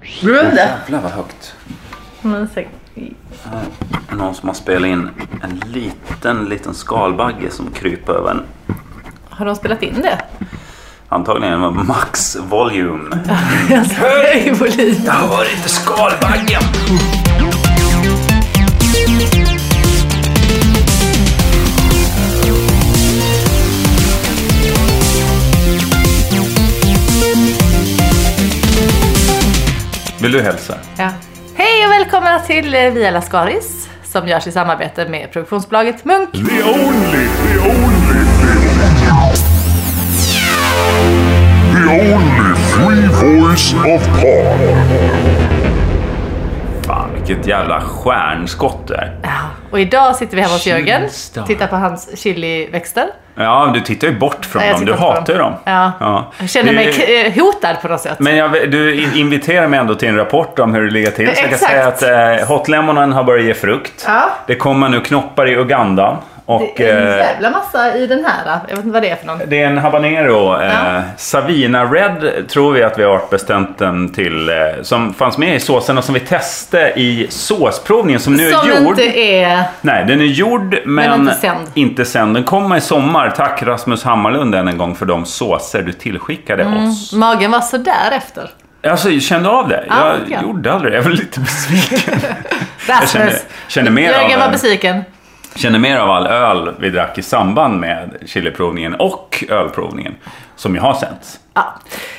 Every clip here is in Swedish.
Glöm det. Jävlar vad högt. Men säkert. Här är Någon som har spelat in en liten, liten skalbagge som kryper över en. Har de spelat in det? Antagligen med max volume. Höj volymen. har varit inte skalbaggen! Vill du hälsa? Ja. Hej och välkomna till eh, Via Lascaris som görs i samarbete med produktionsbolaget Munk. The only, the only, the only free voice of Pod. Fan, vilket jävla stjärnskott det är. Ja. Och idag sitter vi hemma hos Jörgen. Chilistar. Tittar på hans chiliväxter. Ja, du tittar ju bort från Nej, jag dem. Du tittar inte på hatar ju dem. Ja. Jag känner mig Du- k- eh, hotad på något sätt. Men jag, du in- inviterar mig ändå till en rapport om hur det ligger till. Så jag kan Exakt. säga att eh, hotlemonen har börjat ge frukt. Ja. Det kommer nu knoppar i Uganda. Och, det är en eh, jävla massa i den här. Jag vet inte vad det är för någon. det är en habanero. Eh, Ja. Savina Red tror vi att vi har artbestämt den till. Eh, som fanns med i såsen och som vi testade i såsprovningen som nu Som är gjord. inte är... Nej, den är gjord men, inte sänd. inte sänd. Den kommer i sommar. Tack Rasmus Hammarlund än en gång för de såser du tillskickade Mm. oss. Magen var sådär efter. Alltså, jag kände av det. Ja, jag tycker jag. gjorde aldrig det. Jag var lite besviken. jag Rasmus. kände, kände, mer Jörgen var av, besviken. kände mer av all öl vi drack i samband med chiliprovningen och ölprovningen. Som ju har sänts. Ja.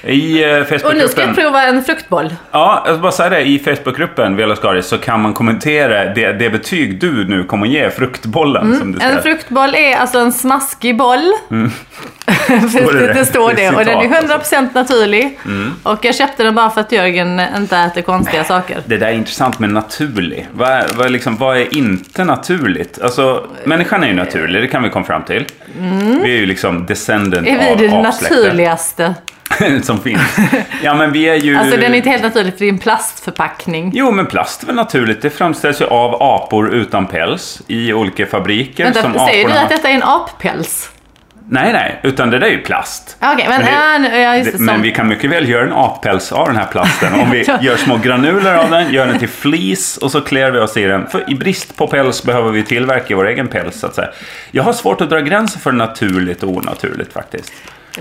I eh, Och nu ska vi Facebookgruppen. prova en fruktboll. Ja, jag ska bara säga det. I Facebookgruppen Vela Skaris så kan man kommentera det, det betyg du nu kommer ge fruktbollen. som du ska Mm. En fruktboll är alltså en smaskig boll. För det det, det? står Det Mm. är det. Och den är citat, alltså. Mm. 100% naturlig. Och jag köpte den bara för att Jörgen inte äter konstiga saker. Det där är intressant med naturlig. Vad är, vad är, liksom, vad är inte naturligt? Alltså, människan är ju naturlig, det kan vi komma fram till. Vi är ju liksom descendant Mm. Är vi av det apsläktet naturligaste? som finns. Ja, men vi är ju... Alltså den är inte helt naturlig för det är en plastförpackning. Jo, men plast är väl naturligt? Det framställs ju av apor utan päls i olika fabriker. som Vänta, säger du aporna- att detta är en appäls? Nej, nej, utan det där är ju plast. Ja, Okej, men, Men men, det, ja, just det, Det- Men som- vi kan mycket väl göra en appäls av den här plasten. Om vi gör små granuler av den, gör den till flis och så klär vi oss i den. För i brist på päls behöver vi tillverka vår egen päls så att säga. Jag har svårt att dra gränser för naturligt och onaturligt faktiskt.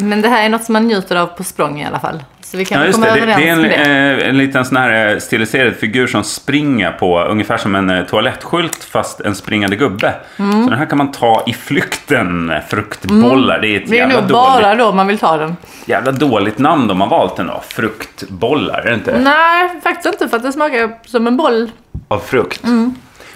men det här är något som man njuter av på språng i alla fall. Så vi kan Ja, väl just komma det. Det, överens det är en, med det. eh, en liten sån här eh, stiliserad figur som springer på ungefär som en eh, toalettskylt fast en springande gubbe. Mm. Så den här kan man ta i flykten, eh, fruktbollar. Det är ett Mm. Det är jävla nog dåligt, bara då man vill ta den. jävla dåligt namn de har valt ändå. Fruktbollar, är det inte? Nej, faktiskt inte för att det smakar som en boll. Av frukt.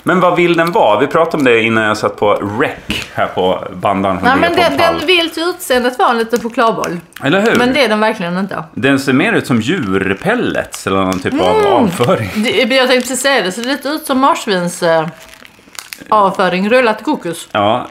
Men vad vill den vara? Vi pratade om det innan jag satt på rec här på bandan. Nej, men den, den vill till utseendet vara en liten chokladboll. Eller hur? Men det är den verkligen inte. Den ser mer ut som djurpellets eller någon typ av Mm. avföring. Det, jag tänkte precis säga det, det ser lite ut som marsvins eh, avföring rullat kokos. Ja,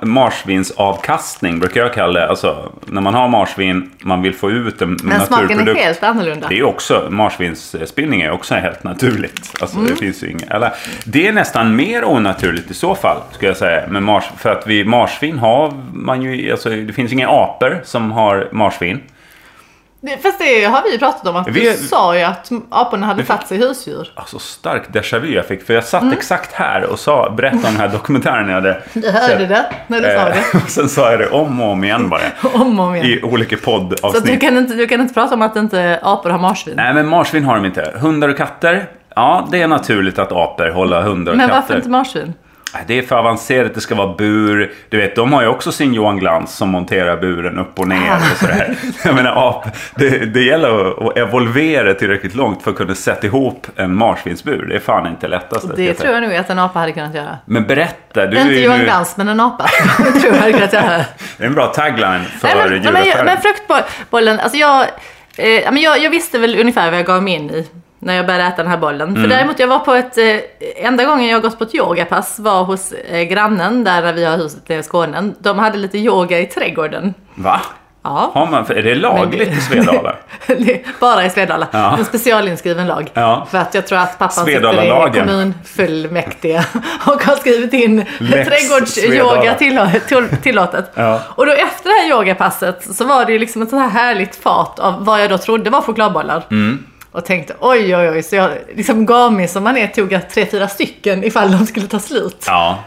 marsvinsavkastning brukar jag kalla det. Alltså, när man har marsvin, man vill få ut en Men smaken är naturprodukt. helt annorlunda. Det är ju också, marsvinsspillning är också helt naturligt. Alltså, Mm. det finns ju inga, eller, det är nästan mer onaturligt i så fall, skulle jag säga. Men mars, för att vi marsvin har man ju, alltså, det finns ju inga apor som har marsvin. Det- Fast det har vi ju pratat om, att du Vi- sa ju att aporna hade fatt sig husdjur. Alltså stark déjà vu jag fick, för jag satt exakt här och sa, berättade om den här dokumentären jag hade Mm. Du hörde det när du sa det. och sen sa jag det om och om igen bara. Om och om igen. Eh, I olika Så att du, poddavsnitt. kan inte, du kan inte prata om att inte apor har marsvin. Nej, men marsvin har de inte. Hundar och katter. Ja, det är naturligt att apor håller hundar och men katter. varför inte marsvin? Det är för avancerat, det ska vara bur. Du vet, de har ju också sin Johan Glans som monterar buren upp och ner och sådär. Jag menar, ap, det, det gäller att, att evolvera tillräckligt långt för att kunna sätta ihop en marsvinsbur. Det är fan inte lättast. ska Det jag säga. tror jag nog att en apa hade kunnat göra. Men berätta, du är inte ju Johan nu- Glans, men en apa. tror jag hade kunnat göra. Det är en bra tagline för Nej, men, men, djuraffären. men fruktbollen, alltså jag, eh, ja, men jag, jag visste väl ungefär vad jag gav mig in i när jag började äta den här bollen. För däremot, jag var på ett, eh, enda gången jag gått på ett yogapass var hos eh, grannen där när vi har huset nere i Skåne. De hade lite yoga i trädgården. Va? Ja. Har man, är det lagligt Men- i Svedala? Det är Bara i Svedala. Ja. En specialinskriven lag. Ja. För att jag tror att pappan sitter i Svedalalagen. kommunfullmäktige och har skrivit in Lex trädgårdsyoga Svedala. tillå- till- tillåtet. Ja. Och då efter Mm. det här yogapasset så var det ju liksom ett sånt här härligt fat av vad jag då trodde var chokladbollar. Och tänkte oj oj oj, så jag liksom gav mig som man är tog jag tre, fyra stycken ifall de skulle ta slut. Ja,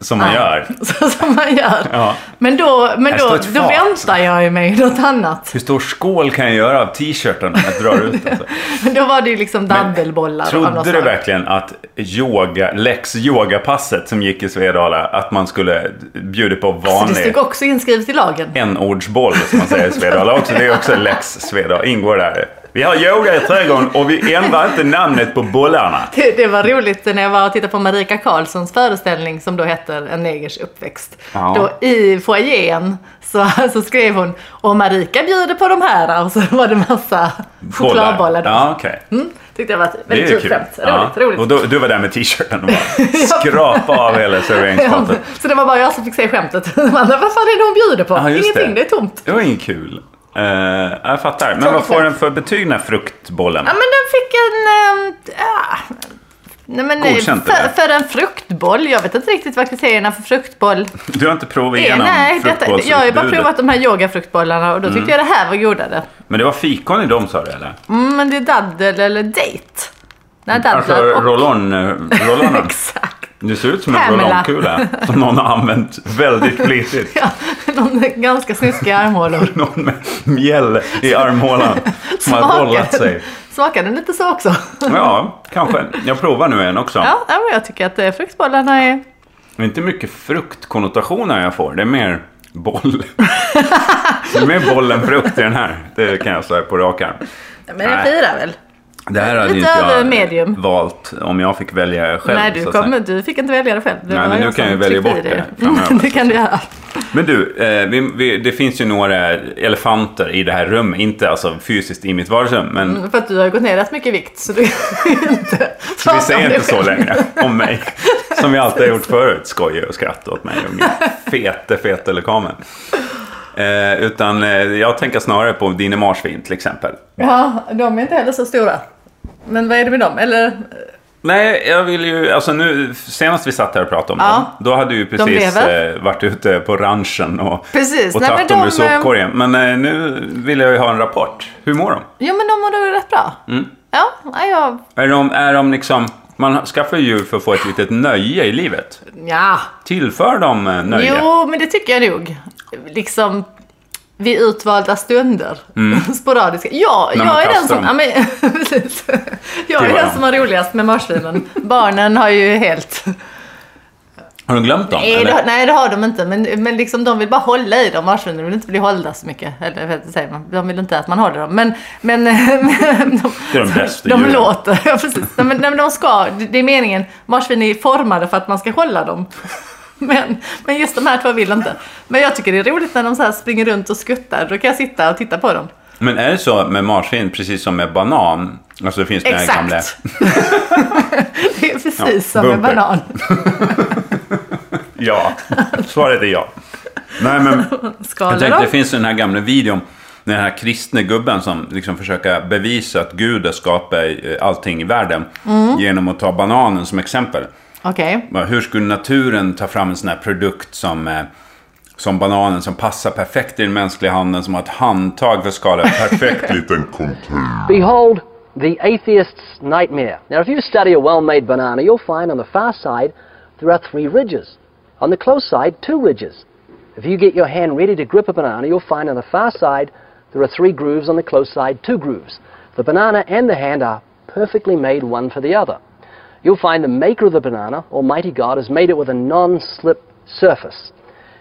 som man gör. Så som man gör. Ja. Men då, men Här då, står då ett fat. väntar jag ju mig något annat. Hur stor skål kan jag göra av t-shirten när jag drar ut den? så? Men då var det ju liksom dabbelbollar av något Trodde slag. du verkligen att yoga, läx yogapasset som gick i Svedala, att man skulle bjuda på Så Alltså, det vanlig stod också inskrivet i lagen. enordsboll som man säger i Svedala också. Det är också läx Svedala, ingår där. Vi har yoga i trädgården och vi ändrar inte namnet på bollarna. Det, det var roligt när jag var och tittade på Marika Karlssons föreställning som då heter En negers uppväxt. Ja. Då i foajén så, så skrev hon Och Marika bjuder på de här och så var det massa chokladbollar. då. Ja, okej. Mm, tyckte jag var Det är ju väldigt kul. uppskämt. Roligt, Ja. roligt. Och du, du var där med t-shirten och bara skrapa av hela Ja, serveringsfatet. så det var bara jag som fick se skämtet. De andra, vad fan är det hon bjuder på? Ja, just Ingenting, det. är tomt. Det var inget kul. Eh, jag fattar. Men vad får den för betyg den här fruktbollen? Ja, men den fick en... ehm, ah, nej, men nej, Godkänt, för, eller? för en fruktboll. Jag vet inte riktigt vad kriterierna för fruktboll Du har inte provat är. igenom Eh, Nej, detta, jag har ju bara fruktbollsutbudet. Mm. provat de här yogafruktbollarna och då tyckte jag det här var godare. Men det var fikon i dem sa du eller? Mm, men det är daddel eller date. Nej, Alltså daddel och... roll-on, eh, roll-onen. Exakt. Du ser ut som en Pamela. roll-on-kula som någon har använt väldigt flitigt. Ja, de ganska snuskiga armhålor. Någon med mjäll i armhålan som har rollat sig. smakar den lite så också? Ja, kanske. Jag provar nu en också. Ja, ja, men jag tycker att eh, fruktbollarna är... Det är inte mycket fruktkonnotationer jag får. Det är mer boll. det är mer boll än frukt i den här. Det kan jag säga på rak arm. Ja, Men den Nej. firar väl? Det här hade Lite inte över jag medium. valt om jag fick välja själv. Nej, så du, att säga. kom, du fick inte välja det själv. Det Nej, var men nu jag kan som jag välja tryckte i bort dig det framöver. Mm, det kan du göra. Men du, eh, vi, vi, det finns ju några elefanter i det här rummet. Inte alltså fysiskt i mitt vardagsrum, men För att du har gått ner rätt mycket vikt så du kan ju inte så vi prata om säger det inte så själv. längre om mig. Som vi alltid har gjort förut, skojar och skrattar åt mig och min fete, fete lekamen. Eh, utan eh, jag tänker snarare på dina marsvin till exempel. Ja, de är inte heller så stora. Men vad är det med dem? Eller, eh, Nej, jag vill ju, alltså nu, senast vi satt här och pratade om Ja. dem, då hade du ju precis lever. eh, varit ute på ranchen och, Precis. och Nej, men tagit dem ur de, eh, sopkorgen. Men eh, nu vill jag ju ha en rapport. Hur mår de? jo men de mår nog rätt bra. Mm. Ja, ja, jag, Är de, är de liksom... Man skaffar ju djur för att få ett litet nöje i livet. ja. Tillför de eh, nöje? Jo, men det tycker jag nog. Liksom vid utvalda stunder. Sporadiska. Ja, Mm. När man jag är den kastar som... Ja, dem. men, precis. jag är Till den varandra. som har roligast med marsvinen. Barnen har ju helt... Har du glömt dem? Nej eller? det, nej, det har de inte. Men, men liksom, de vill bara hålla i dem. Marsvinen vill inte bli hållda så mycket. Eller vad säger man? De vill inte att man håller dem. Men, men, men de, Det är de bästa de djuren. låter. Ja, precis. Nej, men, nej, men de ska. Det det är meningen. Marsvin är formade för att man ska hålla dem. Men, men just de här två vill inte. Men jag tycker det är roligt när de så här springer runt och skuttar. Då kan jag sitta och titta på dem. Men är det så med marsvin, precis som med banan? Alltså det finns den här gamla... Exakt! det är precis Ja, som med bumper. banan. Ja, svaret är ja. Nej men, jag Skalar tänkte dem. det finns den här gamla videon. Den här kristne gubben som liksom försöker bevisa att Gud har skapat eh, allting i världen. Mm. Genom att ta bananen som exempel. Okej. Bara, Hur skulle naturen ta fram en sån här produkt som, eh, som bananen som passar perfekt i den mänskliga handen, som har ett handtag för att skala perfekt ut? Then contain. Behold the atheist's nightmare. Now, if you study a well made banana, you'll find on the far side there are three ridges. On the close side, two ridges. If you get your hand ready to grip a banana, you'll find on the far side there are three grooves, on the close side, two grooves. The banana and the hand are perfectly made one for the other. You'll find the maker of the banana, Almighty God, has made it with a non slip surface.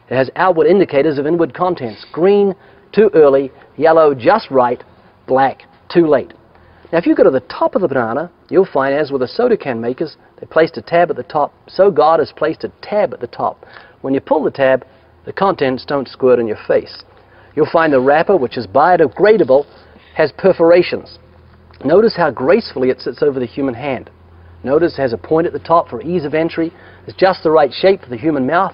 It has outward indicators of inward contents green, too early, yellow, just right, black, too late. Now, if you go to the top of the banana, you'll find, as with the soda can makers, they placed a tab at the top, so God has placed a tab at the top. When you pull the tab, the contents don't squirt in your face. You'll find the wrapper, which is biodegradable, has perforations. Notice how gracefully it sits over the human hand. Notice it has a point at the top for ease of entry. It's just the right shape for the human mouth.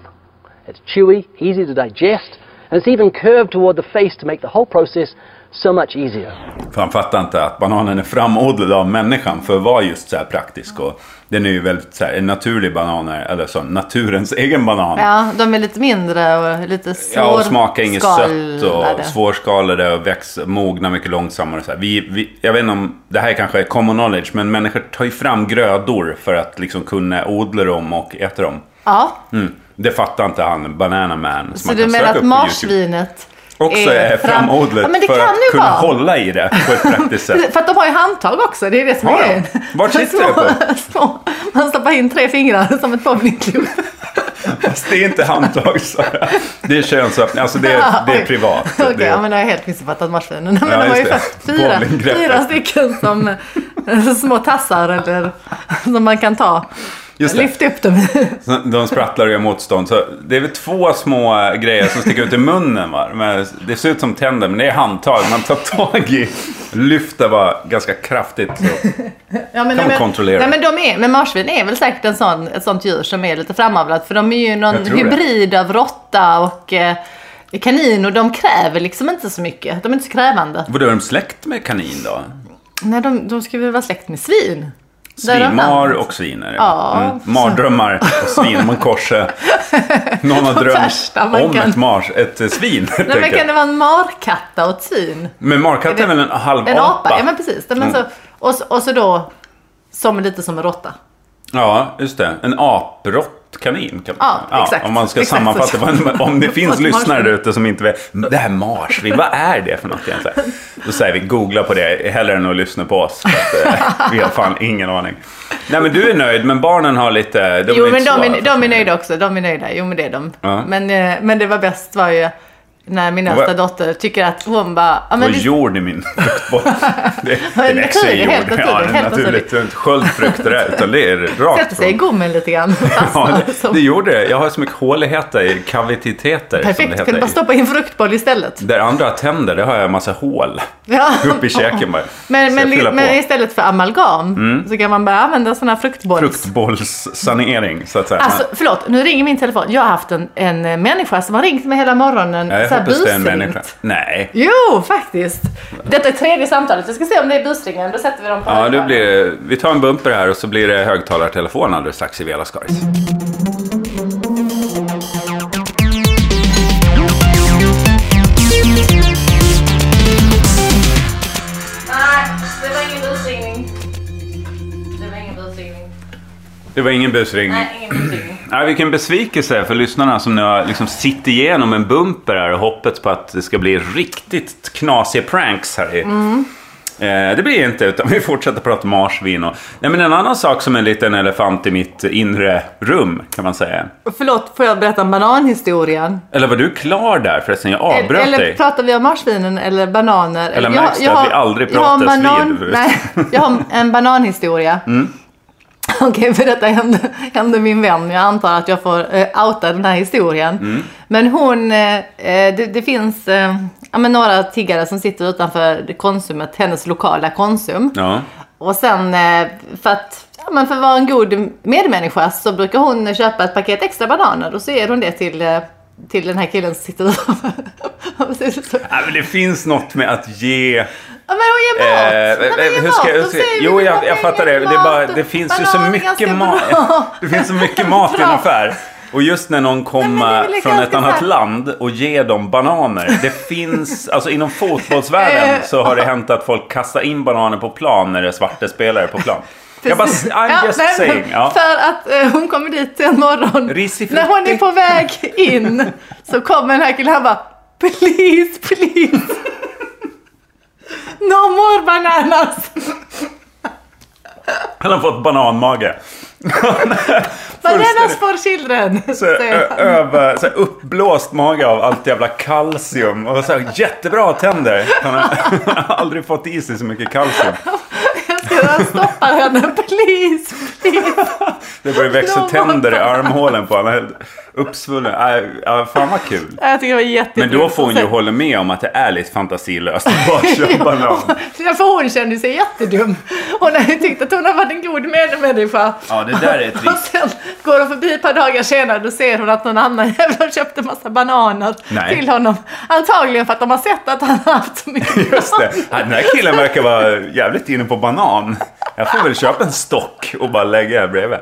It's chewy, easy to digest, and it's even curved toward the face to make the whole process so much easier. För han fattar inte att bananen är framodlad av människan för att vara just så här praktisk. Och den är ju väldigt så här, en naturlig banan, är- eller så, naturens egen banan. Ja, de är lite mindre och lite Ja, och smakar inget sött svårskalade. och svårskalade och växer, mognar mycket långsammare. och Så här. Vi, vi, jag vet inte om det här kanske är common knowledge, men människor tar ju fram grödor för att liksom kunna odla dem och äta dem. Ja, Mm. Det fattar inte han, Banana Man. som så man du kan menar söka att upp på YouTube. marsvinet Också är framodlat Ja, men det för kan att ju kunna vara. hålla i det på ett praktiskt sätt. För att de har ju handtag också, det är det som Har är de? grejen. Vart sitter det på? Små. Man stoppar in tre fingrar som ett bowlingklot. Fast det är inte handtag, så. Det är könsöppning, alltså det är, det är privat. Okej, det ja, men jag har helt missuppfattat marsvinen. Men Ja, de var ju just det. faktiskt fyra, Bowlinggreppet. fyra stycken som eh, små tassar eller som man kan ta. Just det. Lyft upp dem i. Så De sprattlar och gör motstånd. Så det är väl två små eh, grejer som sticker ut i munnen. Va? Men det ser ut som tänder, men det är handtag. Man tar tag i, lyfter bara ganska kraftigt. Så. Ja, men, Kan nej, men- kontrollera. Nej, men, de är, men marsvin är väl säkert en sån, ett sånt djur som är lite framavlat. För de är ju någon Jag tror det. hybrid av råtta och eh, kanin. Och de kräver liksom inte så mycket. De är inte så krävande. Vadå, är de släkt med kanin då? Nej, de, de ska väl vara släkt med svin? Där har Svinmar han- och svin är det. Ja. Mardrömmar och svin, man korsar. Någon har drömt värsta man om kan- ett, mars, ett eh, svin. helt Nej, men enkelt. kan det vara en markatta och ett svin? Men markatt är väl en halv En apa? Ja, men precis. Men Mm. så, och, så- och så då, som lite som en råtta. Ja, just det. En aprått kanin. Kan man Ja, säga. exakt. Om man ska Exakt. sammanfatta, vad, om det finns Marsvin. lyssnare där ute som inte vet. Det här marsvin, vad är det för något egentligen? Då säger vi googla på det hellre än att lyssna på oss. För att, eh, vi har fan ingen aning. Nej men du är nöjd, men barnen har lite... De Jo, är men inte de så- är, de är nöjda också. De är nöjda. Jo, men det är de. Ja. Men, eh, men det var bäst var ju när min äldsta Vad- dotter tycker att hon bara... Ja, Det var men vi- jord i min fruktboll. Det, det Men växer i naturligt, jord. helt ja, naturligt, det är helt naturligt. Det är inte sköldfrukter där, utan det är sätter rakt sig i alltså. från... gommen lite grann. Ja, Fastnar det, som- det gjorde det. Jag har så mycket håligheter, i kavititeter som det Perfekt, heter. kunde bara i- stoppa in fruktboll istället. Där andra har tänder, där har jag en massa hål. Ja. Upp i käken bara. Men, Så men, jag fyller men på. Mm. istället för amalgam så kan man bara använda sådana här fruktbolls... Fruktbollssanering, så att säga. Alltså förlåt, nu ringer min telefon. Jag har haft en, en eh, människa som har ringt mig hela morgonen. Ja, jag så här hoppas det är en busringt. människa. Nej. Jo, faktiskt. Detta är tredje samtalet. Vi ska se om det är busringen. Då sätter vi dem på Ja, högtalare. det blir, vi tar en bumper här och så blir det högtalartelefon alldeles strax i Vela Skaris. Nej, det var ingen busringning. Det var ingen busringning. Det var ingen busringning. Nej, ingen busringning. Nej, vilken besvikelse för lyssnarna som nu har liksom sitter igenom en bumper här och hoppats på att det ska bli riktigt knasiga pranks här. i- Eh, det blir det inte, utan vi fortsätter prata marsvin och... Nej, men en annan sak som är en liten elefant i mitt inre rum, kan man säga. Förlåt, får jag berätta om bananhistorien? Eller var du klar där förresten? Jag Eller, avbröt eller dig. pratar vi om marsvinen eller bananer? Eller märks det att vi aldrig jag har en pratas vid Mm. banan, överhuvudtaget? Nej, jag har en bananhistoria. Okej, för detta hände, hände min vän. Jag antar att jag får eh, outa den här historien. Mm. Men hon, eh, eh, det, det finns eh, ja, men några tiggare som sitter utanför konsumet, hennes lokala konsum. Ja. Och sen eh, för att, ja, men för att vara en god medmänniska så brukar hon köpa ett paket extra bananer och så ger hon det till, eh, till den här killen som sitter utanför. Ja, precis. Så- Nej, men det finns något med att ge... ja, men hon ger Eh, mat! Nej, men eh, ger hur ska mat. jag, Då ska, säger vi, jo, vi jag, har jag fattar det. pengar Det, till är bara, mat. det finns ju så Banan är mycket ganska mat. bra. Det finns så mycket mat i en Bra. affär. Och just när någon Nej, men det kommer är väl från ett ganska annat så här- land och ger dem bananer. Det finns, alltså inom Eh, fotbollsvärlden så har det hänt att folk kastar in bananer på plan när det är svarta spelare på plan. Jag bara, Precis. I'm Ja, just nej, men saying. Ja. För att eh, hon kommer dit en morgon. Risifrutti. När hon är på väg in så kommer den här killen han bara Please, please. No more bananas. Han har fått bananmage. Bananas for children. Så, ö, säger han. över, så här uppblåst mage av allt jävla kalcium. Och så här, jättebra tänder. Han har aldrig fått i sig så mycket kalcium. Jag ska stoppa henne. Please, please. Det börjar växa Långa tänder i banan. armhålen på honom. Helt uppsvullen. Äh, äh, fan vad kul. Jag tycker det var jätteroligt. Men då får hon Och ju sen- hålla med om att det är lite fantasilöst att bara köpa banan. Ja, för hon kände sig jättedum. Hon hade ju tyckt att hon har varit en god medmänniska. Ja, det där är Och trist. sen går hon förbi ett par dagar senare och då ser hon att någon annan jävel har köpt en massa bananer Nej. till honom. Antagligen för att de har sett att han har haft så mycket Just det. Ja, Den här killen verkar vara jävligt inne på banan. Jag får väl köpa en stock och bara lägga här bredvid.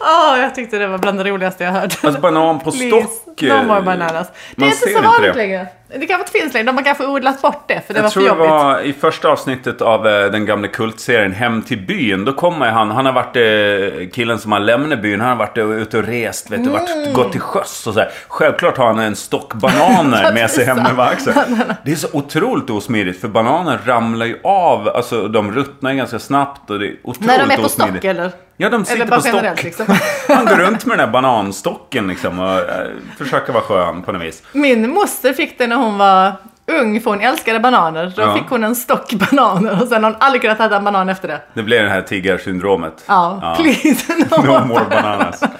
Åh, jag tyckte det var bland det roligaste jag hört. Alltså banan på Please, stock. No more eh, bananas. Det är man inte ser så inte vanligt det. längre. Det kanske inte finns längre. De har kanske odlat bort det för det var jag för tror det jobbigt. var i första avsnittet av eh, den gamla kultserien Hem till byn. Då kommer han, han har varit eh, killen som har lämnat byn. Han har varit eh, ute och rest, vet du, Mm. varit, gått till sjöss och så här. Självklart har han en stock bananer med sig hem över axeln. Det är så otroligt osmidigt för bananer ramlar ju av, alltså de ruttnar ganska snabbt och det är otroligt När de är på osmidigt. stock eller? Ja, de Eller sitter bara på stock. generellt liksom. Han går runt med den här bananstocken liksom och eh, försöker vara skön på något vis. Min moster fick det när hon var ung för hon älskade bananer. Då Ja. fick hon en stock bananer och sen har hon aldrig kunnat äta en banan efter det. Det blir det här tiggarsyndromet. Ja, please. No, No more bananas.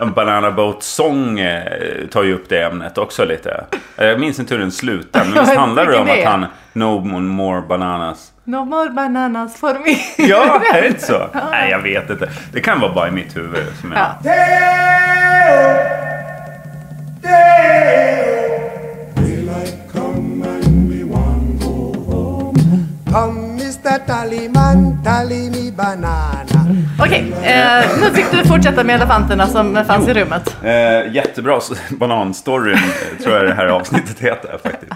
En Banana Boat Song eh, tar ju upp det ämnet också lite. Eh, Jag minns inte hur den slutar, men visst handlar det om Vilken är? att han No more bananas. No more bananas for me. Ja, är det inte så? Nej, jag vet inte. Det kan vara bara i mitt huvud. Som jag... Ja. Daylight come and me want go home. Come, Mr. Tallyman, tally me banana. Okej, eh, nu fick du fortsätta med elefanterna som fanns i rummet. Eh, jättebra s- bananstoryn eh, tror jag det här avsnittet heter faktiskt.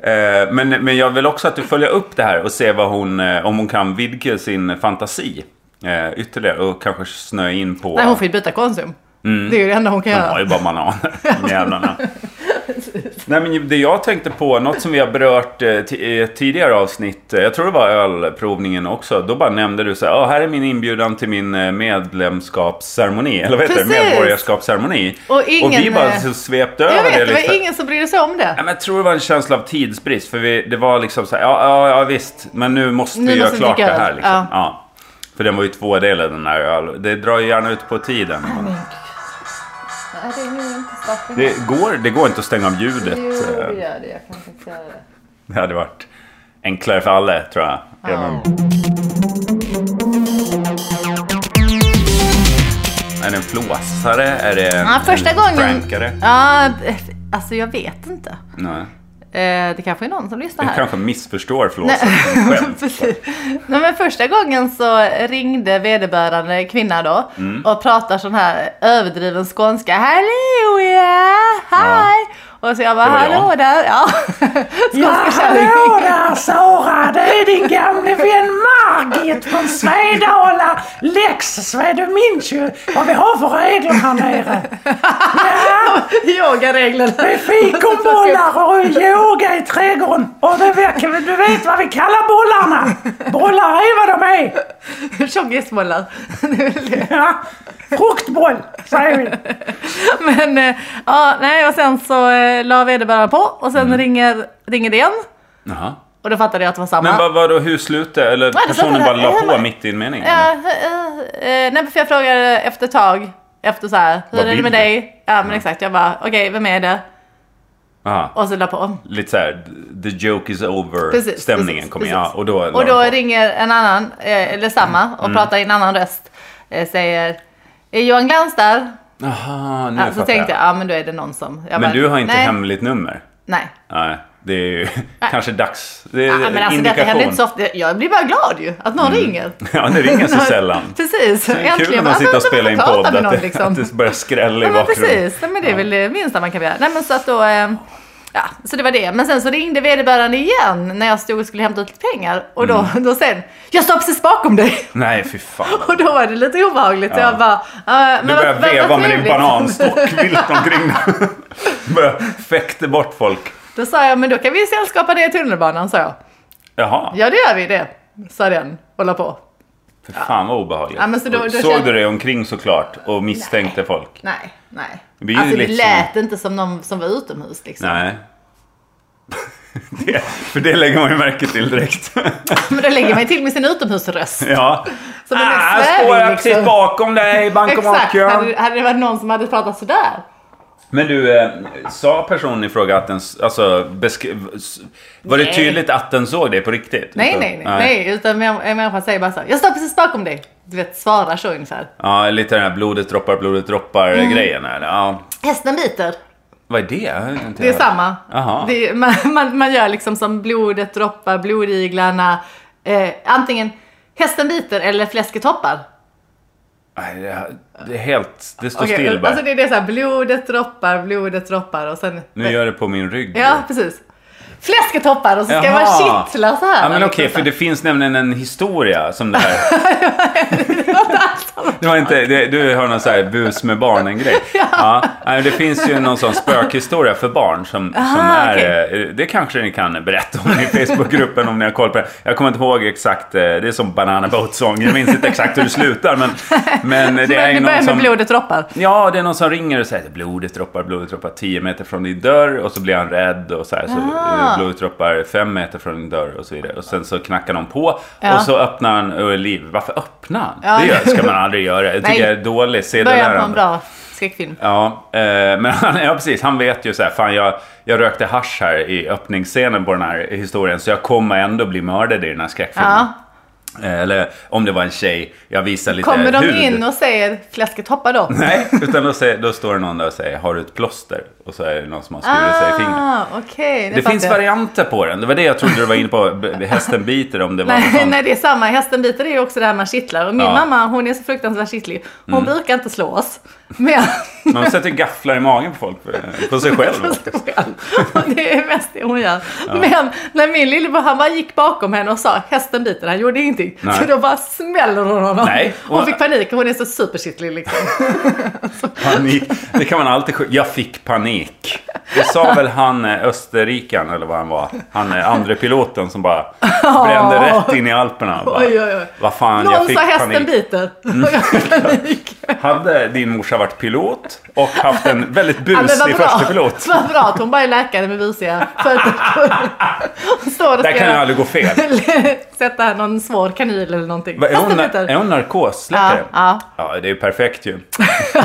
Eh, men, men jag vill också att du följer upp det här och ser vad hon, eh, om hon kan vidga sin fantasi eh, ytterligare och kanske snöa in på... Nej, hon får ju byta konsum. Mm. Det är ju det enda hon kan De har göra. ju bara bananer, de jävlarna. Nej, men det jag tänkte på, något som vi har berört eh, ti- i ett tidigare avsnitt, eh, jag tror det var ölprovningen också, då bara nämnde du så här, "Ja, här är min inbjudan till min eh, medlemskapsceremoni, eller vad heter det? Precis. Medborgarskapsceremoni. Och ingen, och vi bara eh, så svepte Jag över vet, det det. var Liksom. ingen som brydde sig om det. Ja, men jag tror det var en känsla av tidsbrist, för vi, det var liksom så här, ja, ja, ja visst, men nu måste Nu vi göra måste vi klart det dricka här. öl. Liksom. Ja. Ja. För den var ju tvådelad den här öl. Det drar ju gärna ut på tiden. Det går, det går inte att stänga av ljudet. eh, gör det. Jag kan inte göra det. Det hade varit enklare för alla, tror jag. Även... Är det en flåsare? Är det en, Ja, första en gången... prankare? Ja, eh, alltså jag vet inte. Nej. Eh, det kanske är någon som lyssnar Du här. kanske missförstår flåsaren som skämt. Precis. Nej, men första gången så ringde vederbörande kvinna då Mm. och pratar sån här överdriven skånska. Hallå ja, hej! Och så jag bara, Det var jag. hallå där. Ja, skånska kärring. Hallå Alltså, Sara, det är din gamle vän Margit från Svedala. Lex-Sve, du minns ju vad vi har för regler här nere. Ja, Yogareglerna. med fikonbollar och yoga i trädgården. Och det verkar, du vet vad vi kallar bollarna. Bollar är vad de är. Tjongisbollar. Det är väl det. Ja, fruktboll, säger vi. Men eh, ja, nej och sen så eh, la vederbörande på och Mm. sen ringer, ringer det igen. Jaha. Och då fattade jag att det var samma. Men vad, vadå, hur slutade Eller det personen bara slutade- la på hela- mitt i en mening? Ja, eh, eh, nej, men för jag frågade efter ett tag, efter så här, hur Vad är det vill med du? dig? Ja, men exakt. Jag bara, okej, vem är det? Aha. Och så la på. Lite såhär, the joke is over Precis, stämningen precis, kom in. precis. Ja, och då, la Och då de på. Mm. ringer en annan, eh, eller samma, och pratar i en annan röst. Eh, säger, är Johan Glans där? Aha, nu Ja, så fattar tänkte jag, ja men då är det någon som... Jag bara, Men du har inte nej, hemligt nummer? Nej. Nej, det är ju kanske dags. Det är Ja, men alltså detta indikation. Mm. händer inte så ofta. Jag blir bara glad ju, att någon ringer. Ja, det ringer så sällan. Precis. Det är kul när man Ja, men sitter och så får spelar in man prata podd med att, någon, det- liksom. att det börjar skrälla i Ja men bakgrunden. precis, Nej, men det är väl det minsta man kan göra. Nej men så att då, eh, ja så det var det. Men sen så ringde vederbörande igen när jag stod och skulle hämta ut lite pengar och då, Mm. då sen, jag står precis bakom dig! Nej, fy fan. Och då var det lite obehagligt och jag bara, eh, men Du vad- börjar vad- vad veva med din trevligt. bananstock vilt omkring dig. Du börjar fäkta bort folk. Då sa jag, men då kan vi sällskapa det i tunnelbanan sa jag. Jaha, Ja det gör vi det, sa den och la på. fy fan vad obehagligt. Ja, men så då- då Och Såg kände- du dig omkring såklart och misstänkte folk? Nej, nej. Det är ju Alltså det lite som- lät inte som någon som var utomhus liksom. Nej. Det, för det lägger man ju märke till direkt. Men då lägger man ju till med sin utomhusröst. Ja. Så den är ah, svärig, står jag liksom. precis bakom dig i Exakt, bankomatkön. hade, hade det varit någon som hade pratat sådär. Men du, eh, sa personen i fråga att den, s- alltså, besk- s- var det Nej. tydligt att den såg dig på riktigt? Liksom? Nej, Utan- nej, nej. nej utan män- en människa säger bara så. här, Jag står precis bakom dig. Du vet, svarar så ungefär. Ja, lite den här blodet droppar, blodet droppar Mm. grejen här. Ja. Hästen biter. Vad är det? Jag har inte Det är hört. samma. Jaha. Det är, man, man, man gör liksom som blodet droppar, blodiglarna. Eh, antingen hästen biter eller fläsket hoppar. Nej, det- Det är helt... Det står Okej, still bara. alltså det är det så här, blodet droppar, blodet droppar och sen... Nu gör det på min rygg. Ja, precis. Fläsket hoppar och så ska Jaha. man kittla så här. Ja men liksom okej, så för här. det finns nämligen en historia som det här. det var inte det, Du har någon så här bus med barnen grej. Ja. nej, men det finns ju någon sån spökhistoria för barn som, som Aha, är... okej. eh, Det kanske ni kan berätta om i Facebookgruppen om ni har koll på det. Jag kommer inte ihåg exakt, eh, det är som Banana Boat Song. Jag minns inte exakt hur det slutar men... Men det är Men det ju någon börjar med som... blodet droppar. Ja, det är någon som ringer och säger att blodet droppar, blodet droppar 10 meter från din dörr och så blir han rädd och så här. Så Ah. eh, blodet droppar 5 meter från din dörr och så vidare. Och sen så knackar någon på Ja. och så öppnar han och är liv. Varför öppnar han? Ja. Det gör, ska man aldrig göra. Det tycker Nej. jag är dåligt. Se det Början på en där. bra skräckfilm. Ja, eh, men han, ja, precis. Han vet ju så här, fan jag, jag rökte hasch här i öppningsscenen på den här historien så jag kommer ändå bli mördad i den här skräckfilmen. Ja. Eh, Eller om det var en tjej, jag visar lite Kommer de hud. in och säger fläsket hoppar då? Nej, utan då, säger, då står det någon där och säger har du ett plåster? Och så är det någon som har skurit sig i fingret. Ah, okej. Det finns fattar jag. varianter på den. Det var det jag trodde du var inne på. B- Hästen biter om det var något Nej, sånt. nej, det är samma. Hästen biter är ju också det här man kittlar. Och min Ja. Mm. mamma, hon är så fruktansvärt kittlig. Hon brukar inte slå oss. Men... Man sätter gafflar i magen på folk. eh, På sig själv. Och det är mest det hon gör. Men när min lillebror, han bara gick bakom henne och sa hästen biter, han gjorde ingenting. Nej. Så då bara smäller hon honom. Nej. Hon fick panik, hon är så superkittlig liksom. Panik. Det kan man alltid sk- Jag fick panik. Det sa väl han eh, österrikaren eller vad han var. Han eh, andre piloten som bara brände rätt in i Alperna. Bara, Oj, oj, oj. Vad fan, jag Någon fick sa hästen panik. biter. Och jag fick panik. Hade din morsa varit pilot och haft en väldigt Ja, men vad busig bra. första pilot. Vad bra att hon bara är läkare med busiga fötter. Hon står och Där ska kan jag göra- aldrig gå fel. sätta någon svår kanyl eller någonting. Va, Är hon, Hästen är biter. hon narkosläkare? Ja, ja. det är ju perfekt ju.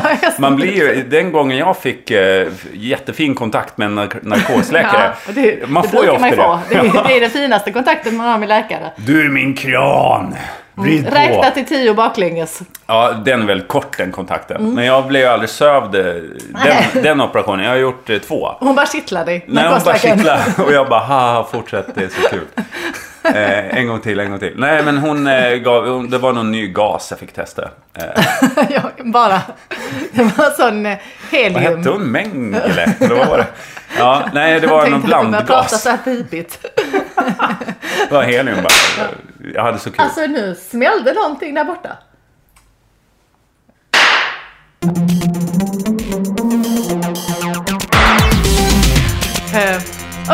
Hästen Man blir ju, den gången jag fick eh, jättefin kontakt med en nar- narkosläkare. Ja, det, man det får ju brukar man ofta få. det. Det, är, det är den finaste kontakten man har med läkare. Du är min kran! Vrid på! Mm, Räkna till tio baklänges. Ja, den är väldigt kort den kontakten. Mm. Men jag blev ju aldrig sövd eh, den, den operationen. Jag har gjort eh, två. Hon bara kittlar dig. Nej, hon bara narkosläkaren. kittlar och jag bara haha, fortsätt, det är så kul. Eh, en gång till, en gång till. Nej, men hon eh, gav, hon, det var någon ny gas jag fick testa. Eh, ja, bara. Det var sån eh, Vad helium. hette hon? Mengele? Eller vad var det? Ja, nej, det var någon prata blandgas. så här pipigt. Det var helium bara. Jag hade så kul. Alltså nu smällde någonting där borta. Eh,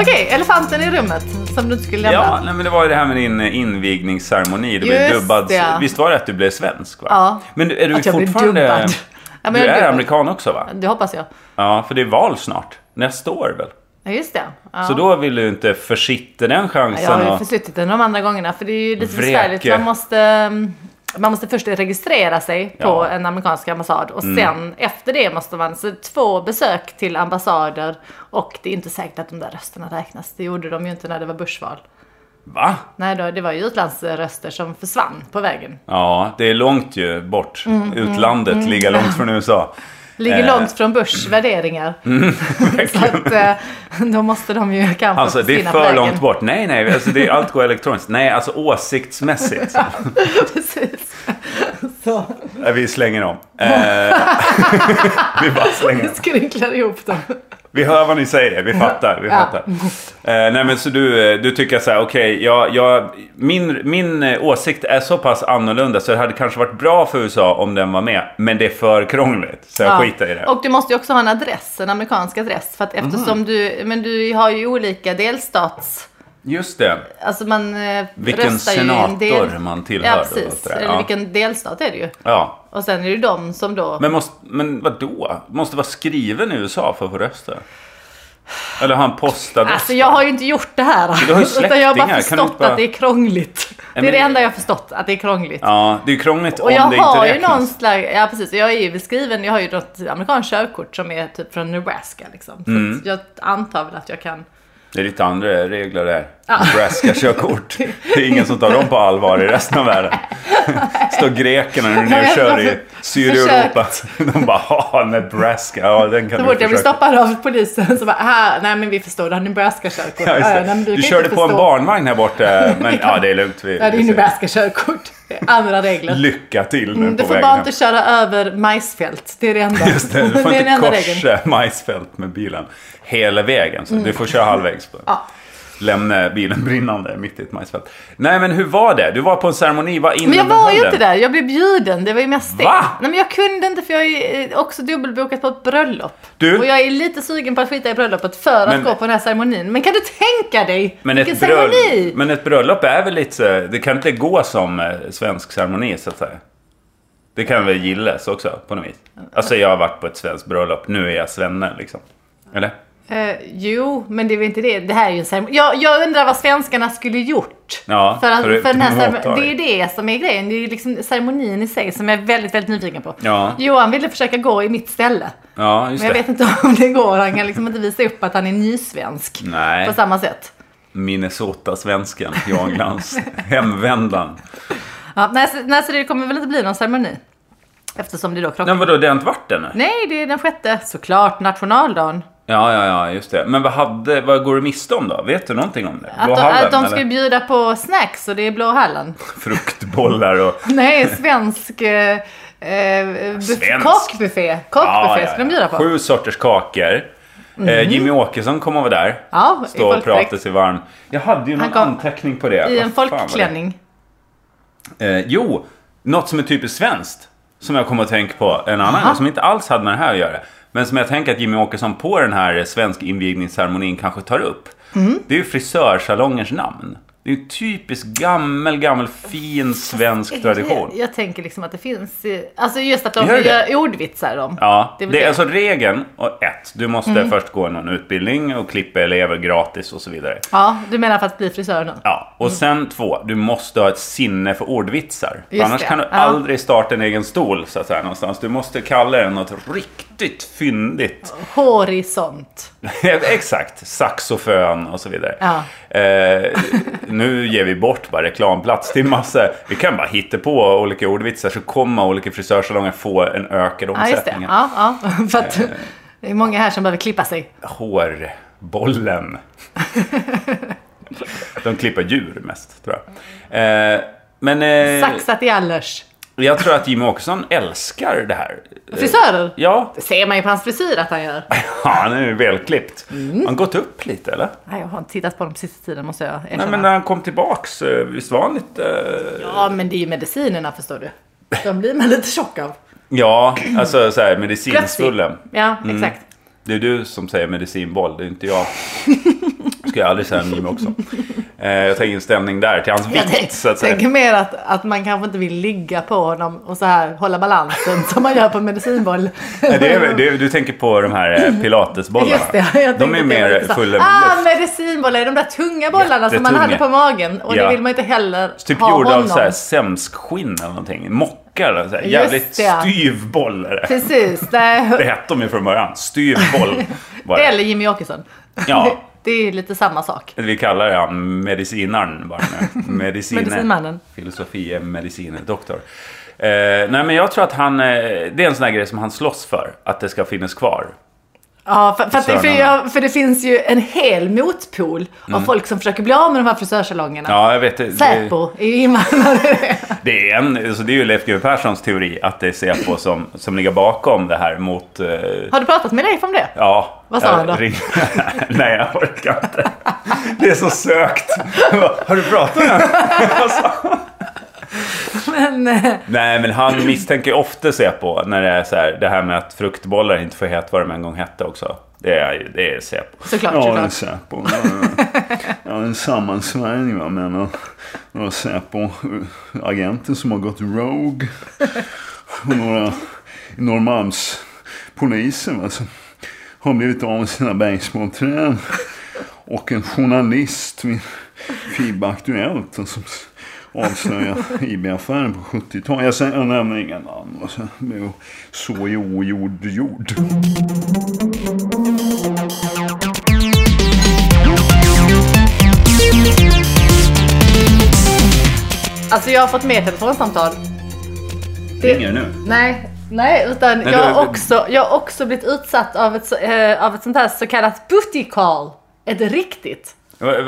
Okej, elefanten i rummet som du inte skulle lämna. Ja, nej, men det var ju det här med din eh, invigningsceremoni. Du blev Just dubbad. det. Visst var det att du blev svensk? Va? Ja. Men du- är du Att jag blev fortfarande... dubbad. Ja, men du jag blev är dubbad. amerikan också va? Det hoppas jag. Ja, för det är val snart. Nästa år väl? Ja, just det. Ja. Så då vill du inte försitta den chansen. jag har ju och- försuttit den de andra gångerna för det är ju lite Vreke. besvärligt. Man måste, mm, man måste först registrera sig på Ja. Mm. en amerikansk ambassad och sen efter det måste man, så två besök till ambassader och det är inte säkert att de där rösterna räknas. Det gjorde de ju inte när det var börsval. Va? Nej då, det var ju utlandsröster som försvann på vägen. Ja, det är långt ju bort. Mm, Utlandet ligger långt från USA. Ligger Eh. Mm. långt från Bushs värderingar. så att eh, då måste de ju kanske Alltså det är försvinna på för vägen. långt bort. Nej, nej, alltså, det är, allt går elektroniskt. Nej, alltså åsiktsmässigt. Precis. Nej, Vi slänger om. Eh, vi bara slänger om. Skrynklar ihop dem. Vi hör vad ni säger, vi fattar. Vi Ja. fattar. Eh, nej men så du, eh, du tycker så här, okej, jag, jag, min, min eh, åsikt är så pass annorlunda så det hade kanske varit bra för USA om den var med. Men det är för krångligt, så jag Ja. skiter i det. Och du måste ju också ha en adress, en amerikansk adress. För att eftersom du, men du har ju olika delstats... Just det, Alltså man eh, vilken röstar ju i en senator del... man tillhör. Ja, och allt precis. det där. Eller Ja. vilken delstat är det ju. ja. Och sen är det ju de som då... Men, måste, men vadå? Måste vara skriven i USA för att få rösta? Eller har han postadress? Alltså jag har ju inte gjort det här. du har ju utan jag har släktingar, kan bara du förstått inte bara- att det är krångligt. Det är men- det enda jag har förstått, att det är krångligt. Ja, det är ju krångligt Och om jag det inte har ju räknas. någon slags, ja precis, jag är ju beskriven, jag har ju något amerikanskt körkort som är typ från Nebraska liksom. Så Mm. att jag antar väl att jag kan. Det är lite andra regler där. Nebraska körkort. Det är ingen som tar dem på allvar i resten av världen. Står grekerna när du nu Jag kör i har Sydeuropa. De bara, ha Nebraska, ja den kan Så du fort jag blir försöka." stoppad av polisen så bara, här, nej men vi förstår, du har Nebraska-körkort. Ja, just Ja, det. ja, nej, men du kan körde inte på en förstå. barnvagn här borta, men ja det är lugnt. Vi, Ja, det är vi ser. Nebraska-körkort. Det är Andra regler. Lycka till nu Mm, Du på får vägen. bara hem. inte köra över majsfält. Det är det enda. Just det, du Det får är den inte enda regeln. Mm. korsa majsfält med bilen hela vägen. Så Du får köra halvvägs. På. Ja. Lämna bilen brinnande mitt i ett majsfält. Nej men hur var det? Du var på en ceremoni, vad Men jag var innehöll ju den? inte där, jag blev bjuden. Det var ju mest det. Va? Nej men jag kunde inte för jag är eh, också dubbelbokat på ett bröllop. Du? Och jag är lite sugen på att skita i bröllopet för Men- att gå på den här ceremonin. Men kan du tänka dig? Men Vilken ett, bröll... ceremoni! men ett bröllop är väl lite, så- det kan inte gå som eh, svensk ceremoni så att säga. Det kan väl gillas också på något vis. Alltså jag har varit på ett svenskt bröllop, nu är jag svenne liksom. Eller? Eh, jo, men det är väl inte det. Det här är ju en ceremoni. Jag, jag undrar vad svenskarna skulle gjort. Ja, för, att, för att för den här motta ceremonin. Det dig. är det som är grejen. Det är ju liksom ceremonin i sig som jag är väldigt, väldigt nyfiken på. Ja. Johan ville försöka gå i mitt ställe. Ja, just Men jag det. vet inte om det går. Han kan liksom inte visa upp att han är nysvensk. Nej. På samma sätt. Minnesota-svensken, Jan Glans. Hemvändaren. Ja, nej, så, nej, så det kommer väl inte bli någon ceremoni. Eftersom det då krockar. Men vadå, det har inte varit ännu? Nej, det är den sjätte. Såklart, nationaldagen. Ja, ja, ja, just det. Men vad, hade, vad går du miste om då? Vet du någonting om det? Att Blå de, hallen, att de eller? skulle bjuda på snacks och det är Blå Hallen. Fruktbollar och... Nej, svensk... Eh, eh, buff- Svensk. Kockbuffé. Kockbuffé Ja, ja, ska ja. de bjuda på. Mm. Sju sorters kakor. Eh, Jimmy Åkesson kommer vara där. Ja, i Stå och folkdräkt. prata sig varm. Jag hade ju någon kom anteckning på det. I Vad en fan var det? folkklänning. Eh, jo, något som är typiskt svenskt. Som jag kommer att tänka på en annan gång, som inte alls hade med det här att göra. Men som jag tänker att Jimmy Åkesson på den här svensk invigningsceremonin kanske tar upp. Mm. Det är ju frisörsalongens namn. Det är ju typisk gammel, gammel fin svensk tradition. Jag, jag tänker liksom att det finns... eh, Alltså just att de Gör det? gör ordvitsar om. Ja, Det det är är, väl det. Mm. alltså regeln och ett, du måste först gå någon utbildning och klippa elever gratis och så vidare. Ja, du menar för att bli frisör nu? Ja, och sen två, du måste ha ett sinne för ordvitsar. För Just annars det, kan du ja. aldrig starta en egen stol så att säga någonstans. Du måste kalla den något riktigt fyndigt. Horisont. Exakt, saxofön och så vidare. Ja. Eh, nu ger vi bort bara reklamplats till massa. Vi kan bara hitta på olika ordvitsar så kommer olika frisörsalonger få en ökad Ja, just det. omsättning. Ja, ja. För att det är många här som behöver klippa sig. hårbollen. De klipper djur mest, tror jag. Eh, men eh, Saxat i allers. jag tror att Jimmy Åkesson älskar det här. Eh, Frisörer? Ja, Det ser man ju på hans frisyr att han gör. han är ju välklippt. Mm. Har han gått upp lite, eller? Nej, jag har inte tittat på honom på sista tiden måste jag erkänna. Nej, men när han kom tillbaks, eh, visst var han lite... eh, Ja, men det är ju medicinerna förstår du. De blir man lite tjock av. Ja, alltså så här, Plötsligt. medicinsvullen. Ja, Mm. exakt. Det är du som säger medicinboll, det är inte jag. Ska jag aldrig säga om Jimmy Åkesson. Eh, jag tar in ställning där till hans vikt, så att säga. tänker mer att, att man kanske inte vill ligga på honom och så här hålla balansen som man gör på en medicinboll. Nej, Eh, Det är, det är, du tänker på de här eh, pilatesbollarna? Just det, jag tänkte de är att det var mer intressant. fulla med Ah, luft. medicinbollar är de där tunga bollarna som man Jättetunga. hade på magen. Och det Ja. vill man inte heller Typ ha gjorda av honom. så här sämskskinn eller någonting. Mockar eller så här. Just Jävligt det. styv boll är det. Precis, det, Det hette de ju från början. Styv boll. var det. Eller Jimmy Åkesson. Ja. Det är lite samma sak. Vi kallar han medicinaren bara nu. Medicine. Medicinmannen. Filosofi är medicine, doktor. Eh, nej men jag tror att han, eh, det är en sån här grej som han slåss för. Att det ska finnas kvar. Ja, för, för, att, för, Frisörerna. jag, för det finns ju en hel motpol av folk som försöker bli av med de här frisörsalongerna. Mm. Ja, jag vet det- Säpo är ju invandrare. Det är, en, alltså det är ju Leif GW Perssons teori att det är Säpo som, som ligger bakom det här mot... eh, Har du pratat med dig om det? ja, Vad sa jag han då? ring- Nej, jag orkar inte. Det är så sökt. Jag bara, Har du pratat med honom? Vad sa han? Men, eh, Nej, men han misstänker ju ofta Säpo när det är så här, det här med att fruktbollar inte får heta vad de en gång hette också. Det är, ju- det är Säpo. Såklart, Ja, såklart. det är Säpo. Ja, ja. Ja, en sammansvärjning va, med några- några Säpo-agenter som har gått rogue. Och några Norrmalmspoliser va, som har blivit av med sina basebollträn. Och en journalist vid FIB Aktuellt som avslöjade IB-affären på 70-talet. Jag, säger- jag nämner inga namn. Och så blev jag så i ogjord jord. Alltså jag har fått med telefonsamtal. Ringer det nu? Nej, nej utan Nej, jag, du- har också, jag har också blivit utsatt av ett, så- eh, av ett sånt här så kallat booty call. Ett riktigt.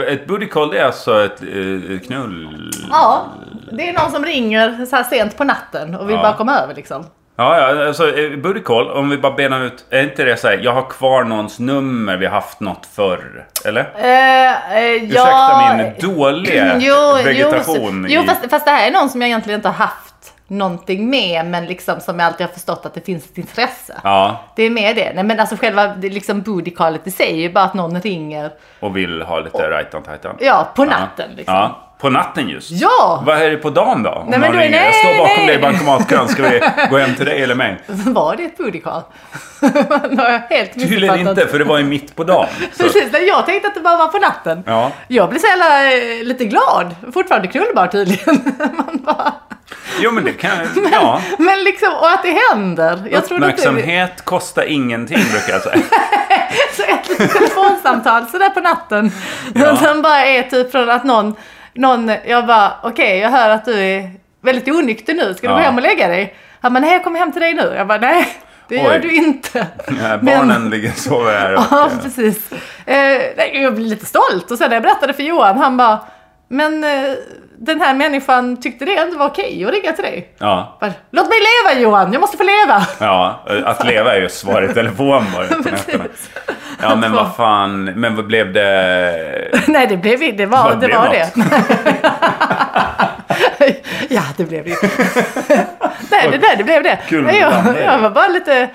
Ett booty call det är alltså ett eh, knull... Ja, det är någon som ringer så här sent på natten och vill Ja. bara komma över liksom. Ja, ja alltså eh, booty call, om vi bara benar ut. Är inte det så här, jag har kvar någons nummer, vi har haft något förr? Eller? Eh, eh, Ursäkta ja, min dåliga Mm, jo, vegetation. Jo, jo i- fast, fast det här är någon som jag egentligen inte har haft någonting med men liksom som jag alltid har förstått att det finns ett intresse. Ja, Det är mer det. Nej men alltså själva det liksom bootycallet i sig är ju bara att någon ringer, och vill ha lite right on titan. ja på natten liksom. Ja! Ja, på natten just. Vad är det på dagen då? Om Nej, men någon då är- ringer, jag nej, står bakom nej. dig i bankomatkön. Ska vi gå hem till dig eller mig? Var det ett bootycall? Nu har jag helt Tydligen missuppfattat. inte, för det var ju mitt på dagen. Så, Precis, nej, jag tänkte att det bara var på natten. ja. Jag blir så jävla eh, lite glad. Fortfarande knullbar tydligen. Man bara... Jo, men det kan... Ja. Men liksom, och att det händer. Jag trodde inte det. Uppmärksamhet kostar ingenting, brukar jag säga. Så ett litet telefonsamtal sådär på natten. Ja. Som bara är typ från att någon, någon jag bara okej jag hör att du är väldigt onykter nu. Ska du gå Ja. hem och lägga dig? Han bara nej jag kommer hem till dig nu. Jag bara nej det gör Oj. du inte. Nej, Men- Barnen ligger och sover här. Och, Ja, precis. Eh, nej, jag blev lite stolt och sen när jag berättade för Johan, han bara Men eh, den här människan tyckte det ändå var okej att ringa till dig. ja. Jag bara, Låt mig leva Johan, jag måste få leva! Ja, att leva är ju att svara i telefon bara på nätterna. Ja, men vad fan. Men vad blev det? Nej det blev inte, det var Vad det. blev Var något? det. ja det blev det. nej, det, nej det blev det. Kul nej, jag, blandning. jag var bara lite, nej,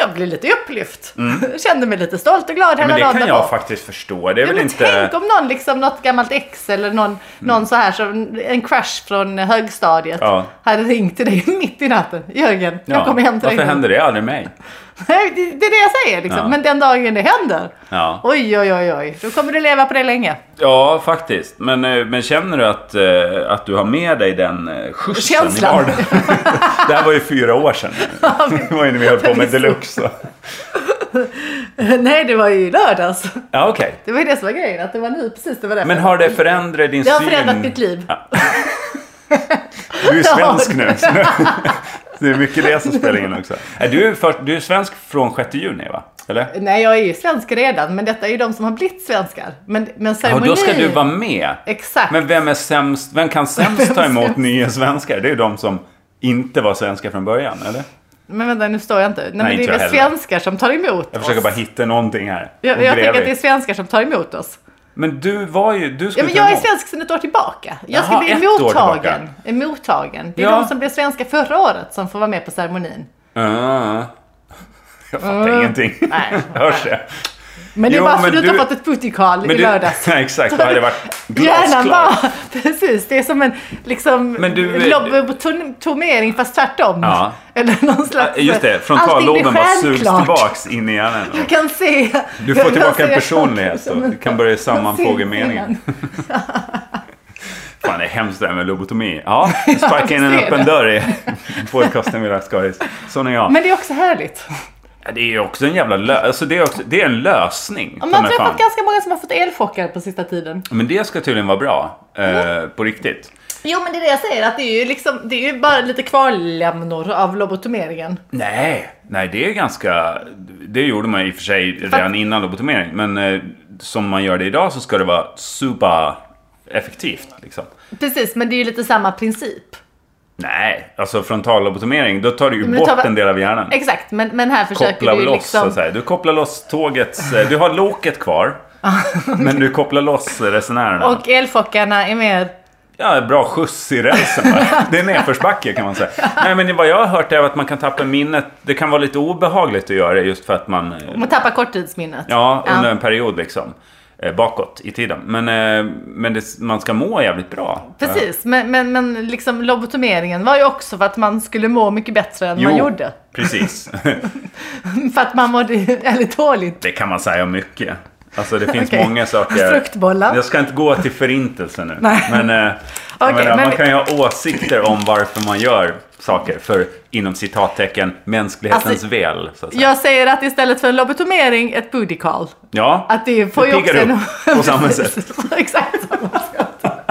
jag blev lite upplyft. Kände mig lite stolt och glad hela Mm. Men det dagen kan därpå. jag faktiskt förstå. Det är Ja, väl men inte... Mm. Tänk om någon, liksom, något gammalt ex eller någon, någon så här, som en crush från högstadiet Ja. hade ringt till dig mitt i natten. Jörgen, jag kommer hem till dig. varför nu." händer det aldrig mig? Nej, det, det är det jag säger liksom. Ja. Men den dagen det händer. Ja. Oj, oj, oj, oj. Då kommer du leva på det länge. Ja, faktiskt. Men, eh, men känner du att, eh, att du har med dig den eh, skjutsen Känslan. i vardagen? det här var ju fyra år sedan. det var ju när vi höll på med deluxe. så. Nej, det var ju lördags. Ja, okej. Det var ju det som var grejen. Att det var nu precis det var det. Men har det förändrat din det har syn? förändrat mitt liv. Du är svensk nu. så Det är mycket det som spelar in också. Nej, Du är, för, du är svensk från 6 juni, va? Eller? Nej, jag är ju svensk redan. Men detta är ju de som har blivit svenskar. Men, men Ja, ceremonin. då ska du vara med. Exakt. Men vem, är sämst, vem kan sämst ta emot nya svenskar? Det är ju de som inte var svenskar från början, eller? Men vänta, nu står jag inte. Nej, men inte det är jag väl heller. svenskar som tar emot Jag försöker oss. bara hitta någonting här. Jag, Och jag bredvid. tänker att det är svenskar som tar emot oss. Men du var ju... Du Ja, skulle men ta jag är emot. svensk sedan ett år tillbaka. Jag ska Jaha, bli ett år mottagen. tillbaka. Är mottagen. Det är Ja. de som blev svenska förra året som får vara med på ceremonin. Ah. jag fattar ingenting. Mm. Nej. Hörs det? Men det är Jo, bara för att men du inte du- har fått ett booty-call i Men du, lördags. nej, exakt, då hade det varit Hjärnan glasklart. bara, precis. Det är som en liksom Men du- eh, lobotomering fast tvärtom. Ja. Eller någon slags... Just det, Allting blir frontalloben bara sugs stjärnklart. tillbaks in i hjärnan. Du kan se. Du jag får kan tillbaka en se- personlighet så du kan börja sammanfoga ser meningen. innan. Fan, det är hemskt det här med lobotomi. Ja, sparka in en ser öppen det. dörr i podcasten med Laxkaris. Sån är jag. Men det är också härligt. Ja, det är ju också en jävla lö- alltså, det, är också, det är en lösning. Man ta har mig fan. träffat ganska många som har fått elchocker på sista tiden. Men det ska tydligen vara bra. Eh, Mm. på riktigt. Jo men det är det jag säger, att det är ju, liksom, det är ju bara lite kvarlämnor av lobotomeringen. Nej, nej det är ganska... Det gjorde man i och för sig redan innan lobotomering. Men eh, som man gör det idag så ska det vara super effektivt. Liksom. Precis, men det är ju lite samma princip. Nej, alltså frontallobotomering, då tar du ju Men det bort tar väl- en del av hjärnan. Exakt, men, men här försöker Kopplar du ju loss, så liksom... att säga. Du kopplar loss tågets... eh, Du har loket kvar. men du kopplar loss resenärerna. Ah, Och elchockarna är mer... Ja, bra skjuts i rälsen. va? Det är nedförsbacke kan man säga. Nej, men vad jag har hört är att man kan tappa minnet. Det kan vara lite obehagligt att göra det just för att man... eh, Man tappar korttidsminnet. Ja, under en period liksom. Eh, eh, bakåt i tiden. Men, eh, men det, man ska må jävligt bra. Eh, Precis, men, men, men liksom lobotomeringen var ju också för att man skulle må mycket bättre än man gjorde. precis. För att man mådde väldigt dåligt. Det kan man säga om mycket. Alltså det finns Okej. många saker. Fruktbollar. Jag ska inte gå till förintelse nu. Nej. Men, eh, jag Okej, menar, men man vi- kan ju ha åsikter om varför man gör saker för, inom citattecken, mänsklighetens Alltså, väl. Så att säga. Jag säger att istället för en lobotomering, ett booty call. Ja, Att det får ju också... piggar en- upp på samma sätt. Exakt samma sätt.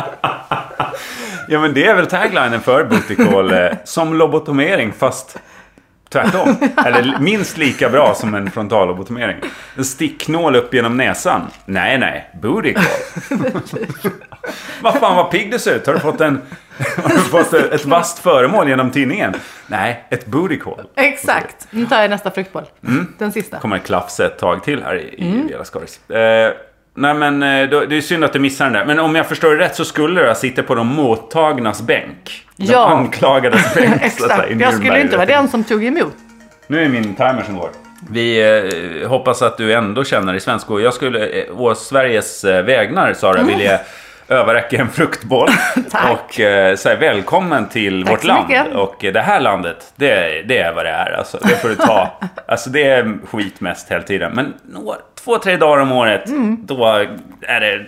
Ja, men det är väl taglinen för Butikol. eh, som lobotomering, fast tvärtom. Eller minst lika bra som en frontallobotomering. En sticknål upp genom näsan. Nej, nej. Butikol. vad fan, vad pigg du ser ut. Har du fått en... Har du fått ett vasst föremål genom tinningen? Nej, ett booty call. Exakt. Nu tar jag nästa fruktboll. Mm. Den sista. kommer klafsa ett tag till här i, Mm. i Vela Skaris. Eh, nej men eh, då, det är synd att du missar den där. Men om jag förstår det rätt så skulle det sitta på de mottagnas bänk. De Ja. anklagades bänk. så att säga, i Exakt. Jag skulle Nürnberg. inte vara den som tog emot. Nu är min timer som går. Vi eh, hoppas att du ändå känner dig svensk. Och jag skulle eh, å Sveriges eh, vägnar, Sara, vilja överräcka en fruktboll. Tack. Och eh, säga välkommen till Tack vårt så land. mycket. Och eh, det här landet, det, det är vad det är. Alltså, det får du ta. alltså det är skit mest hela tiden. Men några, två, tre dagar om året, Mm. då är det...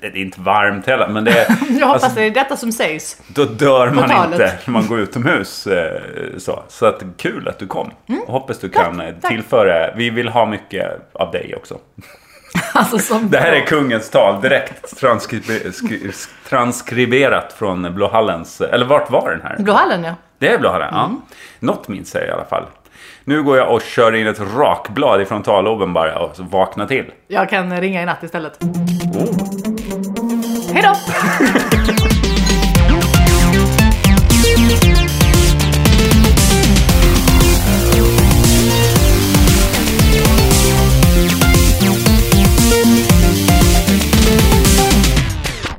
Det är inte varmt heller, men det är... Jag hoppas alltså, det är detta som sägs. då dör man talet. inte när man går utomhus. eh, Så, så att, kul att du kom. Och hoppas du kan eh, Mm. tack. tillföra. Vi vill ha mycket av dig också. Alltså som... Det här är kungens tal direkt transkri- skri- transkriberat från Blåhallens... Eller vart var den här? Blåhallen ja. Det är Blåhallen, Mm. ja. Något minns jag i alla fall. Nu går jag och kör in ett rakblad i frontalloben bara och så vaknar till. Oh. Jag kan ringa i natt istället. Hej då!